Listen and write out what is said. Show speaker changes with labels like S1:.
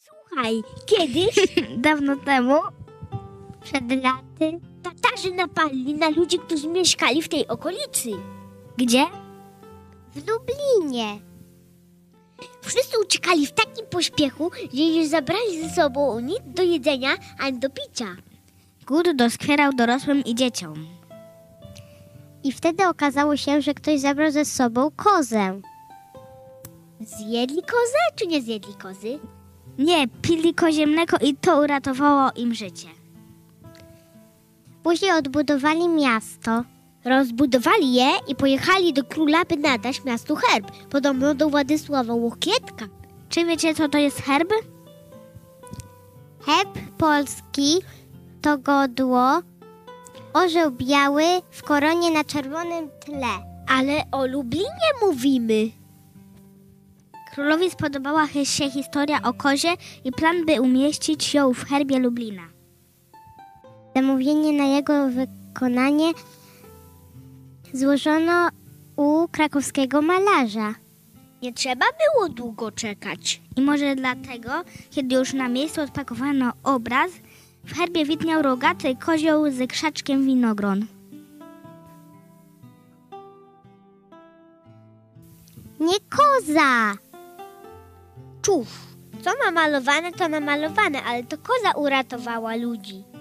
S1: Słuchaj, kiedyś, dawno temu, przed laty, Tatarzy napadli na ludzi, którzy mieszkali w tej okolicy. Gdzie? W Lublinie. Wszyscy uciekali w takim pośpiechu, że nie zabrali ze sobą nic do jedzenia ani do picia. Gór doskwierał dorosłym i dzieciom. I wtedy okazało się, że ktoś zabrał ze sobą kozę. Zjedli kozę, czy nie zjedli kozy? Nie, pili kozie mleko i to uratowało im życie. Później odbudowali miasto. Rozbudowali je i pojechali do króla, by nadać miastu herb, podobno do Władysława Łokietka. Czy wiecie, co to jest herb? Herb polski to godło, orzeł biały w koronie na czerwonym tle. Ale o Lublinie mówimy. Królowi spodobała hi- się historia o kozie i plan, by umieścić ją w herbie Lublina. Zamówienie na jego wykonanie złożono u krakowskiego malarza. Nie trzeba było długo czekać. I może dlatego, kiedy już na miejscu odpakowano obraz, w herbie widniał rogaty kozioł z krzaczkiem winogron. Nie koza! Czuf. Co namalowane, to namalowane, ale to koza uratowała ludzi.